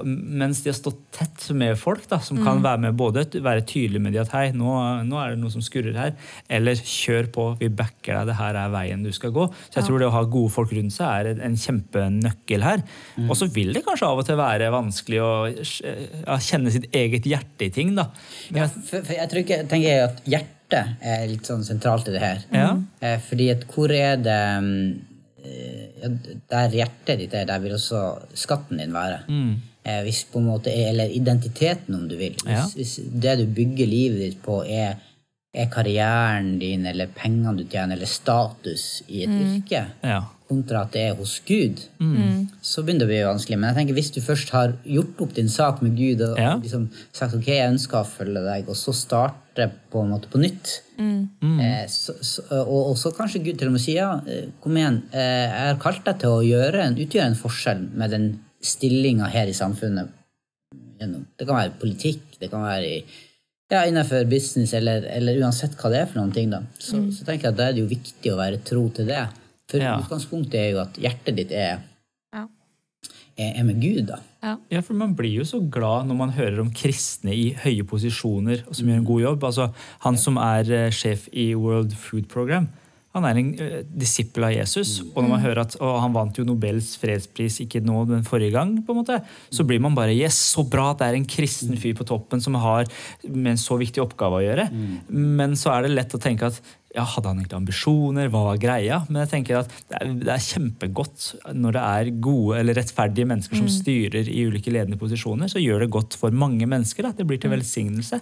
B: Og- Mens de har stått tett med folk da, som kan være med både t- være tydelige med de at hei, nå, nå er det noe som skurrer her, eller kjør på, vi backer deg, det her er veien du skal gå. Så jeg tror det å ha gode folk rundt seg er en- en kjempenøkkel her. Og så vil det kanskje av og til være vanskelig å eh, ja, kjenne sitt eget hjerte i ting, da. Men, jeg-
A: For, for jeg tror ikke, tenker jeg at hjertet er litt sånn sentralt i det her.
B: Ja.
A: Eh, fordi at hvor er det mm, eh, ja, Der hjertet ditt er, der vil også skatten din være.
B: Mm.
A: Eh, hvis på en måte, Eller identiteten, om du vil. Hvis,
B: Ja.
A: hvis det du bygger livet ditt på, er, er karrieren din eller pengene du tjener, eller status i et yrke,
B: ja.
A: kontra at det er hos Gud, så begynner det å bli vanskelig. Men jeg tenker hvis du først har gjort opp din sak med Gud og
B: Ja.
A: liksom sagt ok, jeg ønsker å følge deg, og så starte på en måte på nytt, Eh, så, så, og, og så kanskje Gud til og med sier ja, eh, kom igjen, eh, jeg har kalt deg til å gjøre en, utgjøre en forskjell med den stillinga her i samfunnet. Gjennom. Det kan være politikk, det kan være i ja, innenfor business, eller, eller uansett hva det er for noen ting, da. Så, så tenker jeg at da er det jo viktig å være tro til det. For
B: Ja.
A: utgangspunktet er jo at hjertet ditt er,
C: Ja.
A: er, er med Gud, da.
C: Ja.
B: Ja, for Man blir jo så glad når man hører om kristne i høye posisjoner og som gjør en god jobb. Altså, Han som er eh, sjef i World Food Program, Han er en eh, disippel av Jesus, og når man hører at å, han vant jo Nobels fredspris ikke nå, men forrige gang, på en måte, så blir man bare Yes, så bra at det er en kristen fyr på toppen som har med en så viktig oppgave å gjøre. Men så er det lett å tenke at ja, Hadde han egentlig ambisjoner? Hva var greia? Men jeg tenker at det er, det er kjempegodt når det er gode eller rettferdige mennesker
C: Mm.
B: som styrer i ulike ledende posisjoner. Så gjør det godt for mange mennesker. Da. Det blir
C: Mm.
B: til velsignelse.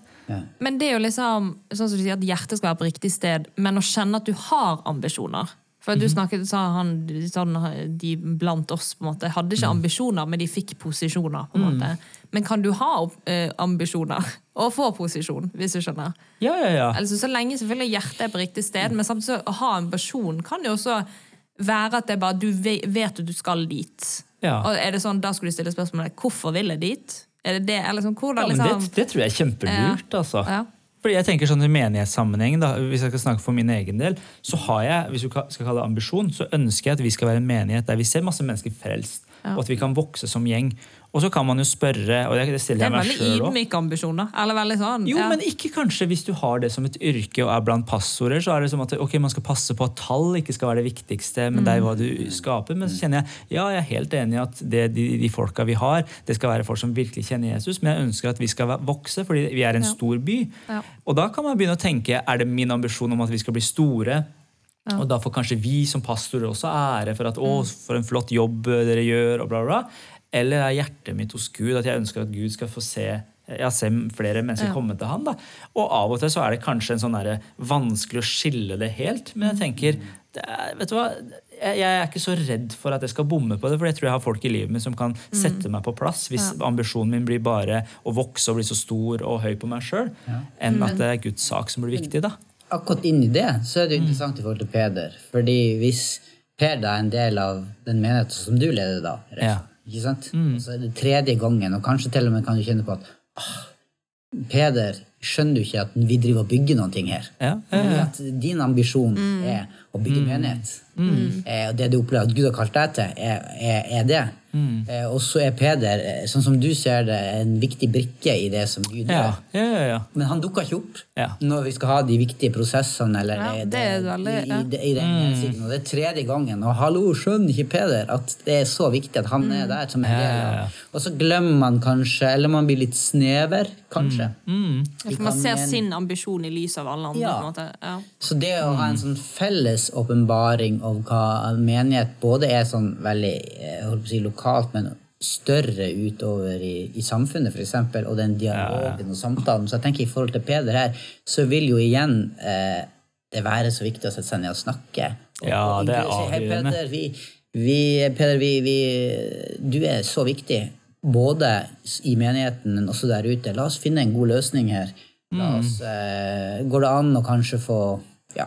C: Men det er jo liksom, sånn som du sier, at hjertet skal være på riktig sted, men å kjenne at du har ambisjoner. For
B: Mhm.
C: du snakket, sa han, sånn, de blant oss på en måte, hadde
B: Mhm.
C: ikke ambisjoner, men de fikk posisjoner. på en måte. Men kan du ha eh, ambisjoner <laughs> og få posisjon, hvis du skjønner?
B: Ja, ja, ja.
C: Altså, så lenge selvfølgelig hjertet er på riktig sted, men samtidig så å ha ambisjon kan jo også være at det er bare du ve- vet at du skal dit.
B: Ja.
C: Og er det sånn, Da skulle du stille spørsmålet hvorfor vil jeg dit? Er det det, eller sånn, hvordan,
B: Ja, men det,
C: liksom,
B: det tror jeg er kjempelurt, altså.
C: Ja.
B: Fordi jeg tenker sånn I menighetssammenheng, da, hvis jeg skal snakke for min egen del, så har jeg hvis du ka- skal kalle det ambisjon, så ønsker jeg at vi skal være en menighet der vi ser masse mennesker frelst. Og at vi kan vokse som gjeng. Og så kan man jo spørre og det, det
C: Det
B: stiller
C: er
B: jeg
C: en
B: meg
C: veldig
B: selv også.
C: ydmyk ambisjon, da. Eller veldig sånn
B: Jo,
C: ja.
B: men ikke kanskje hvis du har det som et yrke og er blant passorder. så er det som at ok, Man skal passe på at tall ikke skal være det viktigste, men det er hva du
C: Mm.
B: skaper. Men så kjenner jeg ja, jeg er helt enig i at det, de, de folka vi har, det skal være folk som virkelig kjenner Jesus. Men jeg ønsker at vi skal væ- vokse, fordi vi er en stor by.
C: Ja.
B: Og da kan man begynne å tenke er det min ambisjon om at vi skal bli store? Og da får kanskje vi som pastorer også ære for at 'Å, for en flott jobb dere gjør', og bla, bla. Eller er hjertet mitt hos Gud at jeg ønsker at Gud skal få se ja, se flere mennesker komme til han. Da. Og av og til så er det kanskje en sånn derre vanskelig å skille det helt, men jeg tenker det er, vet du hva, jeg, jeg er ikke så redd for at jeg skal bomme på det, for jeg tror jeg har folk i livet mitt som kan sette meg på plass, hvis ambisjonen min blir bare å vokse og bli så stor og høy på meg sjøl, enn at det er Guds sak som blir viktig, da.
A: akkurat inn i det, så er det jo interessant i forhold til Peder. Fordi hvis Peder er en del av den menigheten som du leder, da, Reif,
B: Ja.
A: ikke sant? så er det tredje gangen, og kanskje til og med kan du kjenne på at ah, Peder, skjønner du ikke at vi driver og bygger noen ting her?
B: Ja, ja,
A: Fordi At din ambisjon
C: Mm.
A: er å bygge
B: Mm.
A: menighet. Eh, og det du opplever at Gud har kalt deg til, er, er, er det.
B: Mm.
A: Eh, og så er Peder, eh, sånn som du ser det, en viktig brikke i det som Gud
B: Ja,
A: gjør.
B: ja, ja. ja.
A: Men han dukker ikke opp
B: Ja.
A: når vi skal ha de viktige prosessene. Eller
C: Ja,
A: er
C: det er veldig-
A: i,
C: ja.
A: i, i den
B: Mm.
A: hensikten. Og det er tredje gangen. Og hallo, skjønner ikke Peder at det er så viktig at han
C: Mm.
A: er der som en del
B: Ja, ja, ja.
A: av Og så glemmer man kanskje, eller man blir litt snever, kanskje.
B: Mm.
C: For man ser sin ambisjon i lys av alle andre.
A: Ja.
C: på en måte. Ja.
A: Så det å ha en sånn felles åpenbaring av hva menighet både er sånn veldig eh, holdt på å si, lokalt, men større utover i, i samfunnet, f.eks., og den dialogen og samtalen. Så jeg tenker i forhold til Peder her, så vil jo igjen eh, det være så viktig å sette seg ned og snakke. Og,
B: Ja,
A: og
B: det er
A: inkludere- si, Hei,
B: avgjørende.
A: Peder, vi, vi, Peder vi, vi, du er så viktig, både i menigheten, men også der ute. La oss finne en god løsning her. La
B: Mm.
A: oss, eh, går det an å kanskje få ja,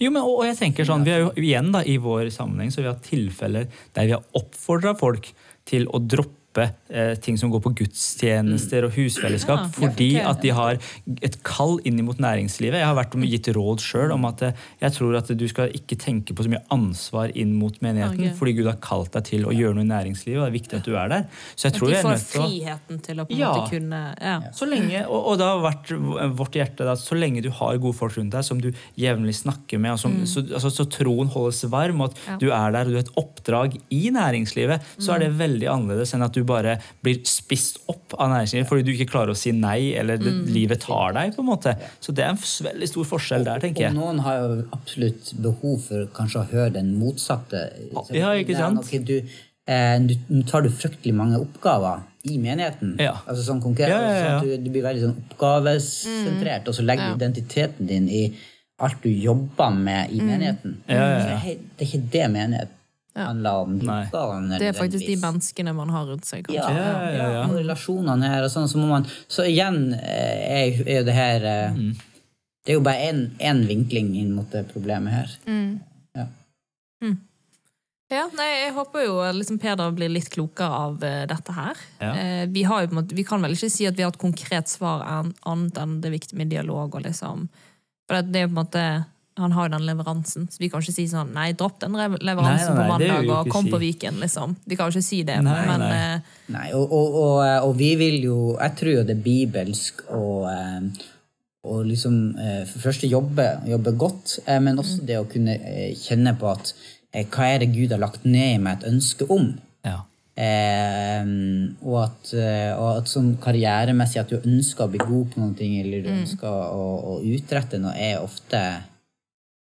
B: Jo, men, og og jeg tenker sånn, Vi er jo igjen da, i vår sammenheng så vi har tilfeller der vi har oppfordra folk til å droppe eh, ting som går på gudstjenester og husfellesskap, fordi
C: Mm. Ah, ok.
B: at de har et kall inn mot næringslivet. Jeg har vært og gitt råd sjøl om at eh, jeg tror at du skal ikke tenke på så mye ansvar inn mot menigheten,
C: Ok.
B: fordi Gud har kalt deg til å gjøre noe i næringslivet, og det er viktig at du er der. Så jeg
C: At
B: tror
C: de
B: jeg er
C: får
B: nødt til å...
C: friheten til å på en
B: Ja.
C: måte kunne ja.
B: Så lenge, og, og det har vært vårt hjerte da, så lenge du har gode folk rundt deg som du jevnlig snakker med, og som,
A: Mm.
B: så, altså, så troen holdes varm, og at du er der og du har et oppdrag i næringslivet, så er det
A: Mm.
B: veldig annerledes enn at du bare blir spist opp av næringslivet fordi du ikke klarer å si nei, eller det,
A: Mm.
B: livet tar deg, på en måte. Så det er en s- veldig stor forskjell der, tenker
A: Og
B: jeg.
A: noen har jo absolutt behov for kanskje å høre den motsatte.
B: Ah, Ja, ikke
A: Nei,
B: sant?
A: ok, du, eh, du, nå tar du fryktelig mange oppgaver i menigheten.
B: Ja.
A: Altså sånn konkret.
B: Ja, ja, ja.
A: Sånn at du, du blir veldig sånn oppgavesentrert,
C: Mm.
A: og så legger du identiteten din i alt du jobber med
C: Mm.
A: i menigheten.
B: ja, ja.
A: Så hei, Det er ikke det menighet handler om.
B: Nei.
A: Oppgavene
C: Det er faktisk de
A: nødvendigvis.
C: menneskene man har rundt seg. kanskje.
A: Ja,
B: Ja, ja, ja.
A: og relasjonene her og sånn, så må man Så igjen eh, er jo- er jo det her eh,
B: Mm.
A: Det er jo bare én vinkling inn mot det problemet her. Ja.
C: Ja, nei, jeg håper jo liksom Peder blir litt klokere av eh, dette her.
B: Ja.
C: Eh, vi, har jo, på en måte, vi kan vel ikke si at vi har et konkret svar an- annet enn det er viktig med dialog. og liksom. For det, det er jo på en måte, Han har jo den leveransen, så vi kan ikke si sånn Nei, dropp den rev- leveransen
B: Nei, nei,
C: på
B: nei, det vil
C: mandag
B: vi
C: og
B: ikke
C: kom
B: si.
C: på Viken, liksom. Vi kan jo ikke si det.
B: Nei,
C: men
B: nei.
C: eh,
A: Nei, og, og, og, og vi vil jo Jeg tror jo det er bibelsk å, eh, å liksom eh, for det første jobbe, jobbe godt, eh, men også det å kunne eh, kjenne på at eh, hva er det Gud har lagt ned i meg et ønske om?
B: Ja.
A: Eh, og, at, eh, og at sånn karrieremessig at du ønsker å bli god på noe, eller
C: Mm.
A: du ønsker å, å utrette noe, er ofte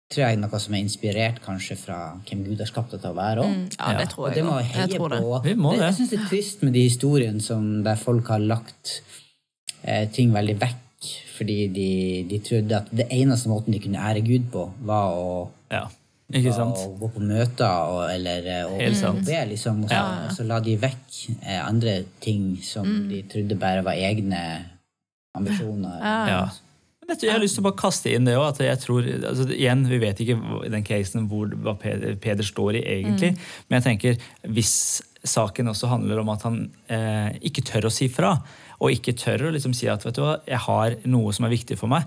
A: tror jeg, noe som er inspirert kanskje fra hvem Gud har skapt deg til å være òg.
C: Ja,
B: Ja,
C: det Mm, tror
A: Og
C: jeg.
A: det må vi
C: også.
A: heie
C: jeg tror det.
A: på.
B: Vi må det.
A: Jeg syns det er trist med de historiene som der folk har lagt eh, ting veldig vekk fordi de, de trodde at det eneste måten de kunne ære Gud på, var å,
B: ja. Ikke
A: var
B: sant?
A: å gå på møter og, eller eh, å-
B: Helt sant.
A: å be, liksom. Og så, og så la de vekk eh, andre ting som
C: Mm.
A: de trodde bare var egne ambisjoner.
B: Ja. Men jeg tror- jeg har lyst til å bare kaste inn det òg. at jeg tror, altså igjen, Vi vet ikke hva- i den casen hvor, hva Peder, Peder står i egentlig, men jeg tenker hvis saken også handler om at han eh, ikke tør å si fra, og ikke tør å liksom si at vet du hva, jeg har noe som er viktig for meg,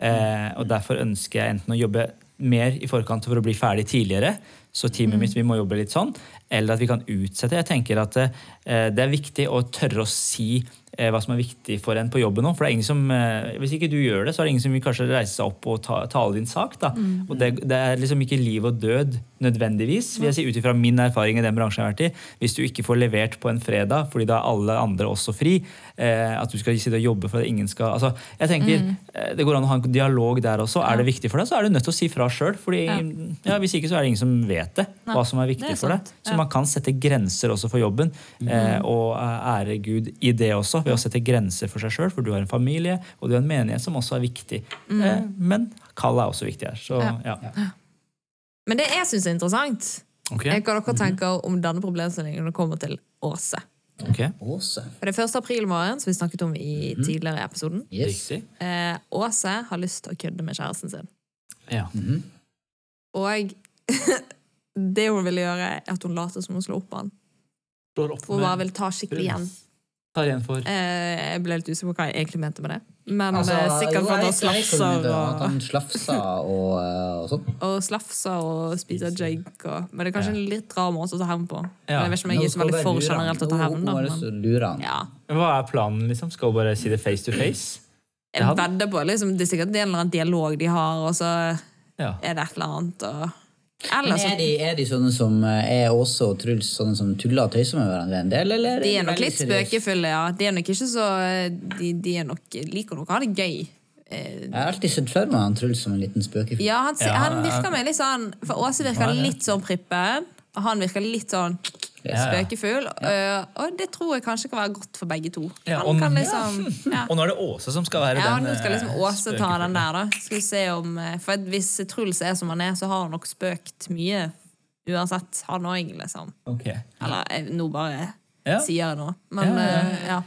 B: eh, og derfor ønsker jeg enten å jobbe mer i forkant for å bli ferdig tidligere, så teamet mitt vi må jobbe litt sånn, eller at vi kan utsette. Jeg tenker at eh, det er viktig å tørre å si eh, hva som er viktig for en på jobben nå. For det er ingen som, eh, hvis ikke du gjør det, så er det ingen som vil kanskje reise seg opp og ta, tale din sak. Da. Og det, det er liksom ikke liv og død nødvendigvis, vil jeg si, ut ifra min erfaring i den bransjen jeg har vært i. Hvis du ikke får levert på en fredag, fordi da er alle andre også fri, eh, at du skal sitte og jobbe for at ingen skal altså, jeg tenker,
C: Mm.
B: eh, Det går an å ha en dialog der også. Er det viktig for deg, så er du nødt til å si fra sjøl. Ja. Ja, hvis ikke så er det ingen som vet det,
C: Nei,
B: hva som er
C: det
B: viktig
C: er
B: for deg.
C: sant.
B: Så man kan sette grenser også for jobben, eh, og ære Gud i det også, ved å sette grenser for seg sjøl, for du har en familie, og du har en menighet som også er viktig. Eh, men kallet er også viktig her. Så
C: Mm. Ja.
B: ja.
C: Men det jeg syns er interessant,
B: Ok.
C: er hva dere tenker om denne problemstillingen når det kommer til Åse.
B: ok.
A: Åse.
C: For det er 1. april i morgen, som vi snakket om i tidligere episoden.
A: Yes.
B: Riktig.
C: Eh, Åse har lyst til å kødde med kjæresten sin.
B: Ja.
C: Og <laughs> det hun vil gjøre, er at hun later som hun slår opp på han.
B: Slår opp
C: For hun bare
B: med
C: vil ta skikkelig igjen.
B: Tar igjen for
C: Eh, jeg ble litt usikker på hva jeg egentlig mente med det. Men
A: Altså,
C: eh,
A: jo,
C: sikkert for at
A: jeg- jeg
C: hun
A: kunne
C: slafser
A: det, at
C: og,
A: Han slafser og, eh, og sånn.
C: og slafser og spiser jig. Og, men det er kanskje en litt rar måte å ta hevn på. Men jeg vet ikke om jeg er så veldig for generelt å ta hevn. da,
A: Nå
C: men-
A: lurer han.
C: Ja.
B: Hva er planen, liksom? Skal hun bare si det face to
C: <clears throat>
B: face? Det
C: Jeg
B: hadde-
C: vedder på liksom, det er sikkert en eller annen dialog de har, og så
B: Ja.
C: er det et eller annet. Og...
A: Men
C: Eller så
A: er de, er de sånne som eh, er Åse og Truls sånne som tuller og tøyser med hverandre en del, eller?
C: De er nok
A: veldig
C: litt
A: seriøse?
C: spøkefulle, ja. De er nok ikke så eh, De, de er nok, liker nok å ha det gøy. Eh,
A: Jeg har alltid sett for meg han Truls som en liten spøkefigur.
C: Ja, han,
B: Ja,
C: han
B: ja.
C: virker meg litt sånn For Åse virker litt sånn prippen, og han virker litt sånn
B: Ja, ja.
C: spøkefull. eh, Og det tror jeg kanskje kan være godt for begge to.
B: Ja,
C: Han
B: og-
C: kan
B: <laughs>
C: liksom ja.
B: Og nå er det Åse som skal være
C: <laughs> Ja,
B: den
C: nå skal liksom
B: eh,
C: Åse ta
B: spøkefulle.
C: den der, da. Skal vi se om eh, For at hvis Truls er som han er, så har han nok spøkt mye uansett, han òg, liksom.
B: Ok.
C: Eller jeg, nå bare
B: Ja.
C: sier jeg noe. Men,
B: Ja, ja, ja.
C: eh, ja.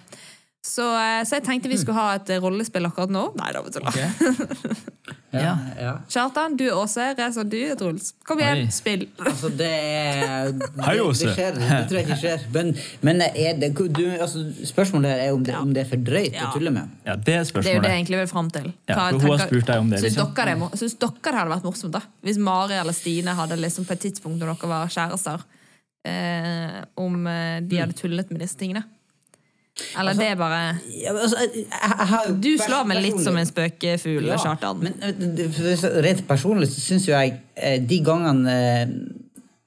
C: Så, eh, så jeg tenkte vi skulle ha et eh, rollespill akkurat nå. Nei, da vet du
B: Ok.
A: Ja, ja.
C: Kjartan, du er Åse. Reza, du er Truls. Kom igjen,
B: Oi.
C: spill.
A: Altså, det er det,
B: Hei, Åse.
A: Det skjer, det tror jeg ikke skjer. Men, men er det, du, altså, spørsmålet her er om det, om det er for drøyt
C: Ja.
A: å tulle med.
B: Ja, det er
C: Det er jo det jeg
B: spørsmålet.
C: egentlig vil fram til.
B: Ja,
C: Hva
B: for hun har
C: tenker-
B: spurt deg om det,
C: Syns
B: liksom.
C: dere, det er mor- syns dere det hadde vært morsomt da? Hvis Mari eller Stine hadde liksom på et tidspunkt når dere var kjærester, eh, om eh, de hadde tullet med disse tingene? Eller
A: Altså,
C: det er bare
A: Ja, men altså, jeg, jeg, jeg har jo
C: Du slår meg litt
A: personlig-
C: som en spøkefugl,
A: Ja,
C: Kjartan.
A: Men eh, det- for- rent personlig så syns jo jeg eh, de gangene eh,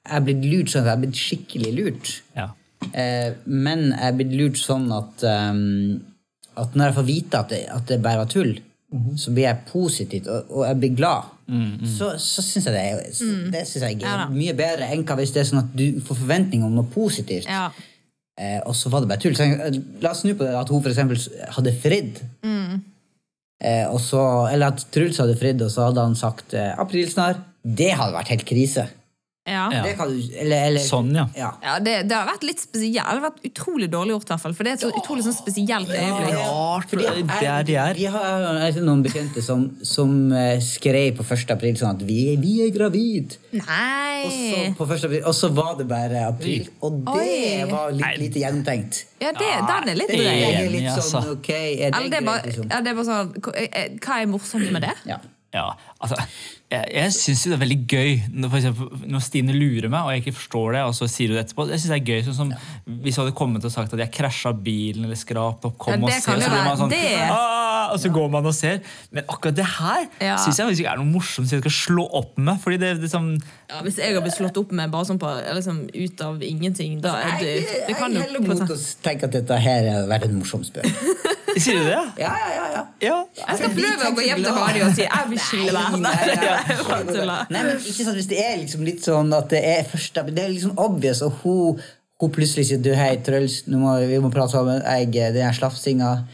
A: jeg er blitt lurt sånn at jeg er blitt skikkelig lurt.
B: Ja.
A: Eh, men jeg er blitt lurt sånn at, ehm, at når jeg får vite at det, at det bare var tull,
B: Mhm.
A: så blir jeg positivt, og, og jeg blir glad.
B: Mm,
A: Så, så syns jeg det er, det synes jeg er
C: Mm. Ja da.
A: mye bedre enn hva hvis det er sånn at du får forventninger om noe positivt,
C: Ja.
A: eh, og så var det bare tull. Så jeg, la oss snu på det at hun for eksempel hadde fridd.
C: Mm.
A: Eh, og så, eller at Truls hadde fridd, og så hadde han sagt eh, 'aprilsnarr'. Det hadde vært helt krise.
C: ja.
B: Ja.
A: Det kan du, eller, eller,
B: Sånn, ja.
A: ja.
C: Ja, det, det har vært litt spesielt. Det har vært utrolig dårlig gjort, i hvert fall. For det er et så utrolig sånn spesielt øyeblikk.
B: Rart,
A: Fordi
B: det er de er.
A: Vi har jeg har noen bekjente som, som eh, skrev på 1. april sånn at vi, vi er gravid. Og så,
C: Nei!
A: på 1. april, og så var det bare april. Og det
C: Oi.
A: var litt lite gjennomtenkt.
C: Ja, det, den er litt
A: Det
B: Nei.
C: drøy.
A: er litt
B: Enig, altså.
A: sånn, ok, er det
C: Eller det er
A: greit,
C: bare,
A: liksom?
C: ja, det er bare sånn hva- eh, Hva er morsomt med det?
A: Ja.
B: Ja, altså, jeg, jeg syns jo det er veldig gøy når, for eksempel, når Stine lurer meg, og jeg ikke forstår det, og så sier hun det etterpå. Jeg synes det er gøy, sånn som Hvis hun hadde kommet og sagt at jeg krasja bilen eller skrapt opp, kom
C: Ja,
B: og
C: det
B: se,
C: kan
B: og
C: jo
B: så blir
C: være-
B: man sånn
C: det-
B: «Ah!» og så går man og ser. Men akkurat det her
C: Ja.
B: synes syns jeg faktisk ikke er noe morsomt så jeg skal slå opp med. Fordi det, det er sånn,
C: Ja, hvis jeg har blitt slått opp med bare sånn på, liksom, ut av ingenting, da er det, det
A: Altså,
C: kan
A: jeg
C: jo
A: heller mot å tenke at dette her har vært en morsom spøk.
B: Sier du det?
A: Ja, ja, ja, ja.
B: Ja.
C: Jeg skal prøve å gå hjem til Mari og si jeg vil skille deg. <laughs> Nei, jeg bare tuller.
A: Nei, men ikke sant, Hvis det er liksom litt sånn at det er første Det er liksom obvious, og hun, hun plutselig sier du, hei, Truls, nå må, vi må prate sammen. Jeg, den her slafsinga.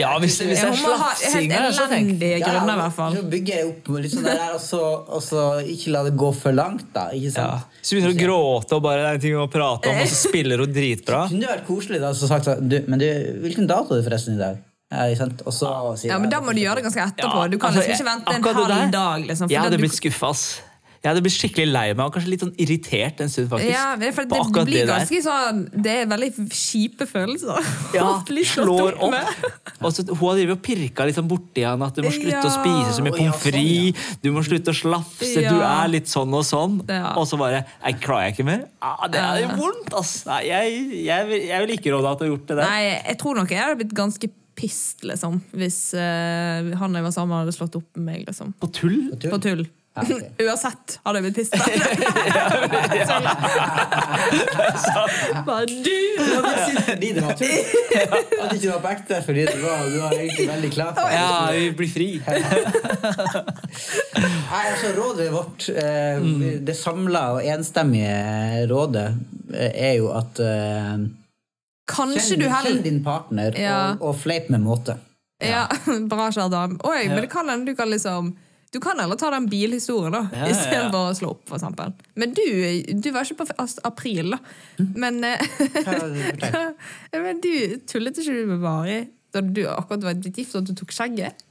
B: ja, hvis, hvis det
C: Ja,
B: er
C: Hun må ha helt
B: slafsinga, så tenk
C: elendige grunner, i hvert fall.
A: Så bygger jeg opp litt sånn der, og så, og så ikke la det gå for langt, da. Ikke
B: ja.
A: sant?
B: Så begynner hun å gråte og bare det er ting å prate om, og så spiller hun dritbra.
A: Kunne det vært koselig da, så sagt sånn du, Men du, hvilken dato er det forresten i dag? Ja, ikke sant? Og så sier
C: Ja,
A: jeg-
C: men Da må du gjøre det ganske etterpå. Du kan
B: altså,
C: liksom ikke vente en
B: akkurat det der,
C: halv dag. liksom. for
B: Jeg
C: da
B: hadde
C: du-
B: blitt skuffa, ass. Jeg hadde blitt skikkelig lei meg og kanskje litt sånn irritert en stund, faktisk.
C: Ja, men for
B: på
C: det, det
B: akkurat
C: blir
B: der.
C: ganske sånn Det er veldig kjipe følelser. <laughs>
B: ja,
C: å bli slått
B: slår
C: liksom med.
B: opp. Og så, hun har drevet og pirka litt sånn borti han at du må slutte
C: Ja. sånn,
B: å spise så mye
A: Å, ja,
B: pommes frites, du må slutte å slafse, du
C: Ja.
B: er litt sånn og sånn.
C: Ja.
B: Og så bare Nei, klarer jeg ikke mer? Ah, det er
C: Ja.
B: vondt, ass. Nei, jeg, jeg, vil- jeg vil ikke råde at du har gjort det der.
C: Nei, jeg tror nok jeg hadde blitt ganske pissed, liksom, hvis eh, han jeg var sammen med, hadde slått opp med meg, liksom.
B: På tull?
A: Tull.
C: På tull.
A: Ja, ok.
C: <laughs> Uansett hadde jeg blitt
A: <laughs>
C: pissed. Bare du!
A: Fordi det var tull. At ikke det var på ekte, fordi det var, du var egentlig veldig klar for det.
B: Ja, vi blir fri.
A: Nei, altså Rådet vårt, eh,
C: Mm.
A: det samla og enstemmige rådet, eh, er jo at eh,
C: Kanskje
A: kjenn,
C: du
A: kjenn
C: heller
A: din partner
C: Ja.
A: og, og fleip med
C: <laughs>
A: måte.
C: Ja, <laughs> bra, Shardam. Oi, men det kan hende du kan liksom du kan heller ta den bilhistorien da,
B: Ja, ja, ja.
C: istedenfor å slå opp. For eksempel. men du, du var ikke på f- april, da.
A: Mhm.
C: Men eh,
A: Hva-
C: <laughs> Ja, Men du tullet ikke du med Mari da du akkurat var blitt gift og du tok skjegget?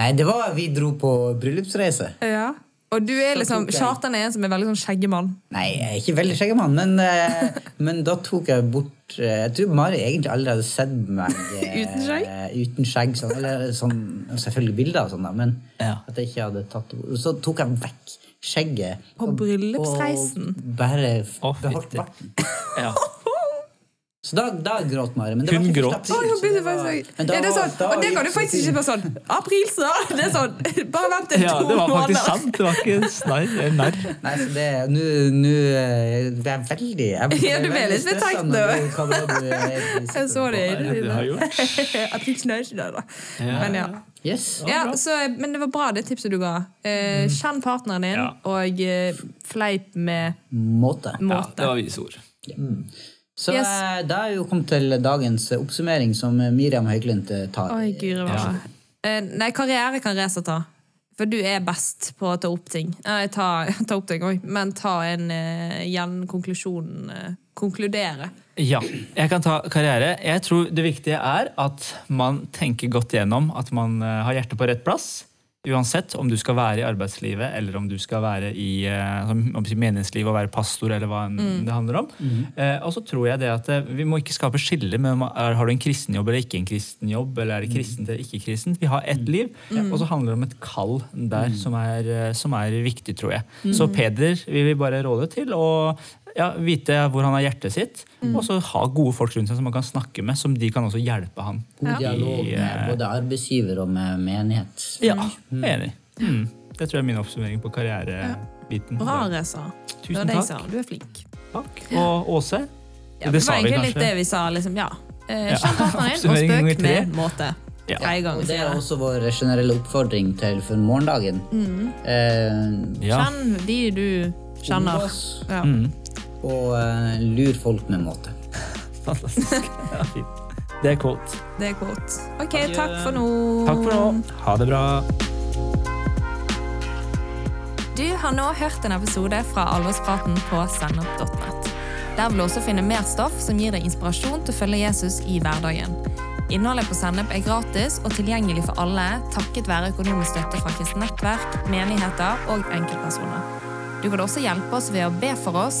A: Nei, det var vi dro på bryllupsreise.
C: Ja. Og du er
A: Så
C: liksom,
A: tok jeg-
C: Kjartan er en som er veldig sånn skjeggemann.
A: Nei, jeg er ikke veldig skjeggemann, men, eh, men da tok jeg bort eh, Jeg tror Mari egentlig aldri hadde sett meg eh,
C: <laughs> Uten skjegg?
A: Uten skjegg sånn, eller sånn, selvfølgelig bilder og sånn, da, men
B: Ja.
A: at jeg ikke hadde tatt det bort. Så tok jeg vekk skjegget.
C: På
A: og-
C: bryllupsreisen?
A: Og bare f-
B: Å, fytti.
A: beholdt barten.
B: Ja.
A: Så da, da gråt Mari. Men det
B: Hun
A: var ikke
B: gråt.
A: første april,
C: Å, jeg
A: så
C: blir
A: det
C: så faktisk-
A: var- men da
C: Ja, det er
A: var-
C: sånn,
A: da
C: og det
A: gikk
C: kan du faktisk ikke bare sånn April, så! Det er sånn, <laughs> Bare vent i to
B: ja, det
C: måneder.
B: var faktisk sant. Det var ikke en snarr. en narr.
A: Nei, så det Nå nå, eh, det er veldig Jeg ble
C: Ja, du ble litt
A: veldig
C: betenkt
A: stresset når du- hva var det du egentlig
C: <laughs> <laughs> Jeg så
A: sitter
C: det
B: Hva
C: i
B: er det du har gjort?
C: <laughs> øynene dine.
B: Ja.
C: Men ja.
A: på? Yes.
C: Ja, så, men det var bra, det tipset du ga. Eh, kjenn partneren din,
B: Mm. Ja.
C: og eh, fleip med
A: Måte.
B: Ja,
C: måte.
B: det var vise ord.
A: Så
C: Yes.
A: eh, da er vi jo kommet til dagens eh, oppsummering, som eh, Miriam Høglund eh, tar.
C: Oi, guri
B: Ja.
C: malla. Eh, Nei, karriere kan Reza ta. For du er best på å ta opp ting. Nei, <laughs> ta, ta opp ting, oi. Men ta en uh, gjenkonklusjon. eh, konkludere.
B: Ja, jeg kan ta karriere. Jeg tror det viktige er at man tenker godt gjennom at man eh, har hjertet på rett plass. Uansett om du skal være i arbeidslivet eller om du skal være i eh, som- om si meningslivet og være pastor eller hva enn det handler om. Eh, og så tror jeg det at eh, vi må ikke skape skille mellom er, har du en kristen jobb eller ikke en kristen jobb, eller er det kristent eller ikke kristent. Vi har ett liv, og så handler det om et kall der som, er, eh, som er viktig, tror jeg. Så Peder vil vi bare råde til å ja, vite hvor han har hjertet sitt,
C: Mm.
B: og så ha gode folk rundt seg som man kan snakke med, som de kan også hjelpe han.
A: God dialog
B: I,
A: med
B: eh,
A: både arbeidsgiver og med menighet.
B: Ja, jeg er enig. Mm. Det tror jeg er min oppsummering på karrierebiten.
C: Bra, Reza. Det var
B: Tusen
C: det jeg
B: takk.
C: sa. Du er flink.
B: Takk. Og Åse,
C: Ja,
B: det sa vi
C: var egentlig litt
B: kanskje.
C: det vi sa. liksom, ja. Eh,
B: Ja.
C: Kjenn
B: <laughs>
C: partneren din, og
B: Oppsummering nummer
C: spøk
B: tre.
C: med måte.
B: Ja.
C: Tre ganger,
A: Og det
C: sier
A: er
C: jeg.
A: også vår generelle oppfordring til for morgendagen.
C: Mm.
A: Eh,
B: Ja. Mm.
C: Kjenn de du kjenner.
A: omgås
C: Ja.
A: og eh, lur folk med måte.
B: Fantastisk. <laughs> Ja, fint. Det er quote.
C: Det er godt. OK, takk for nå.
B: Takk for
C: Mm.
B: nå. Ha det bra.
C: Du har nå hørt en episode fra Alvorspraten på sennep.net. Der vil du også finne mer stoff som gir deg inspirasjon til å følge Jesus i hverdagen. Innholdet på Sennep er gratis og tilgjengelig for alle takket være økonomisk støtte fra kristent nettverk, menigheter og enkeltpersoner. Du kan også hjelpe oss ved å be for oss,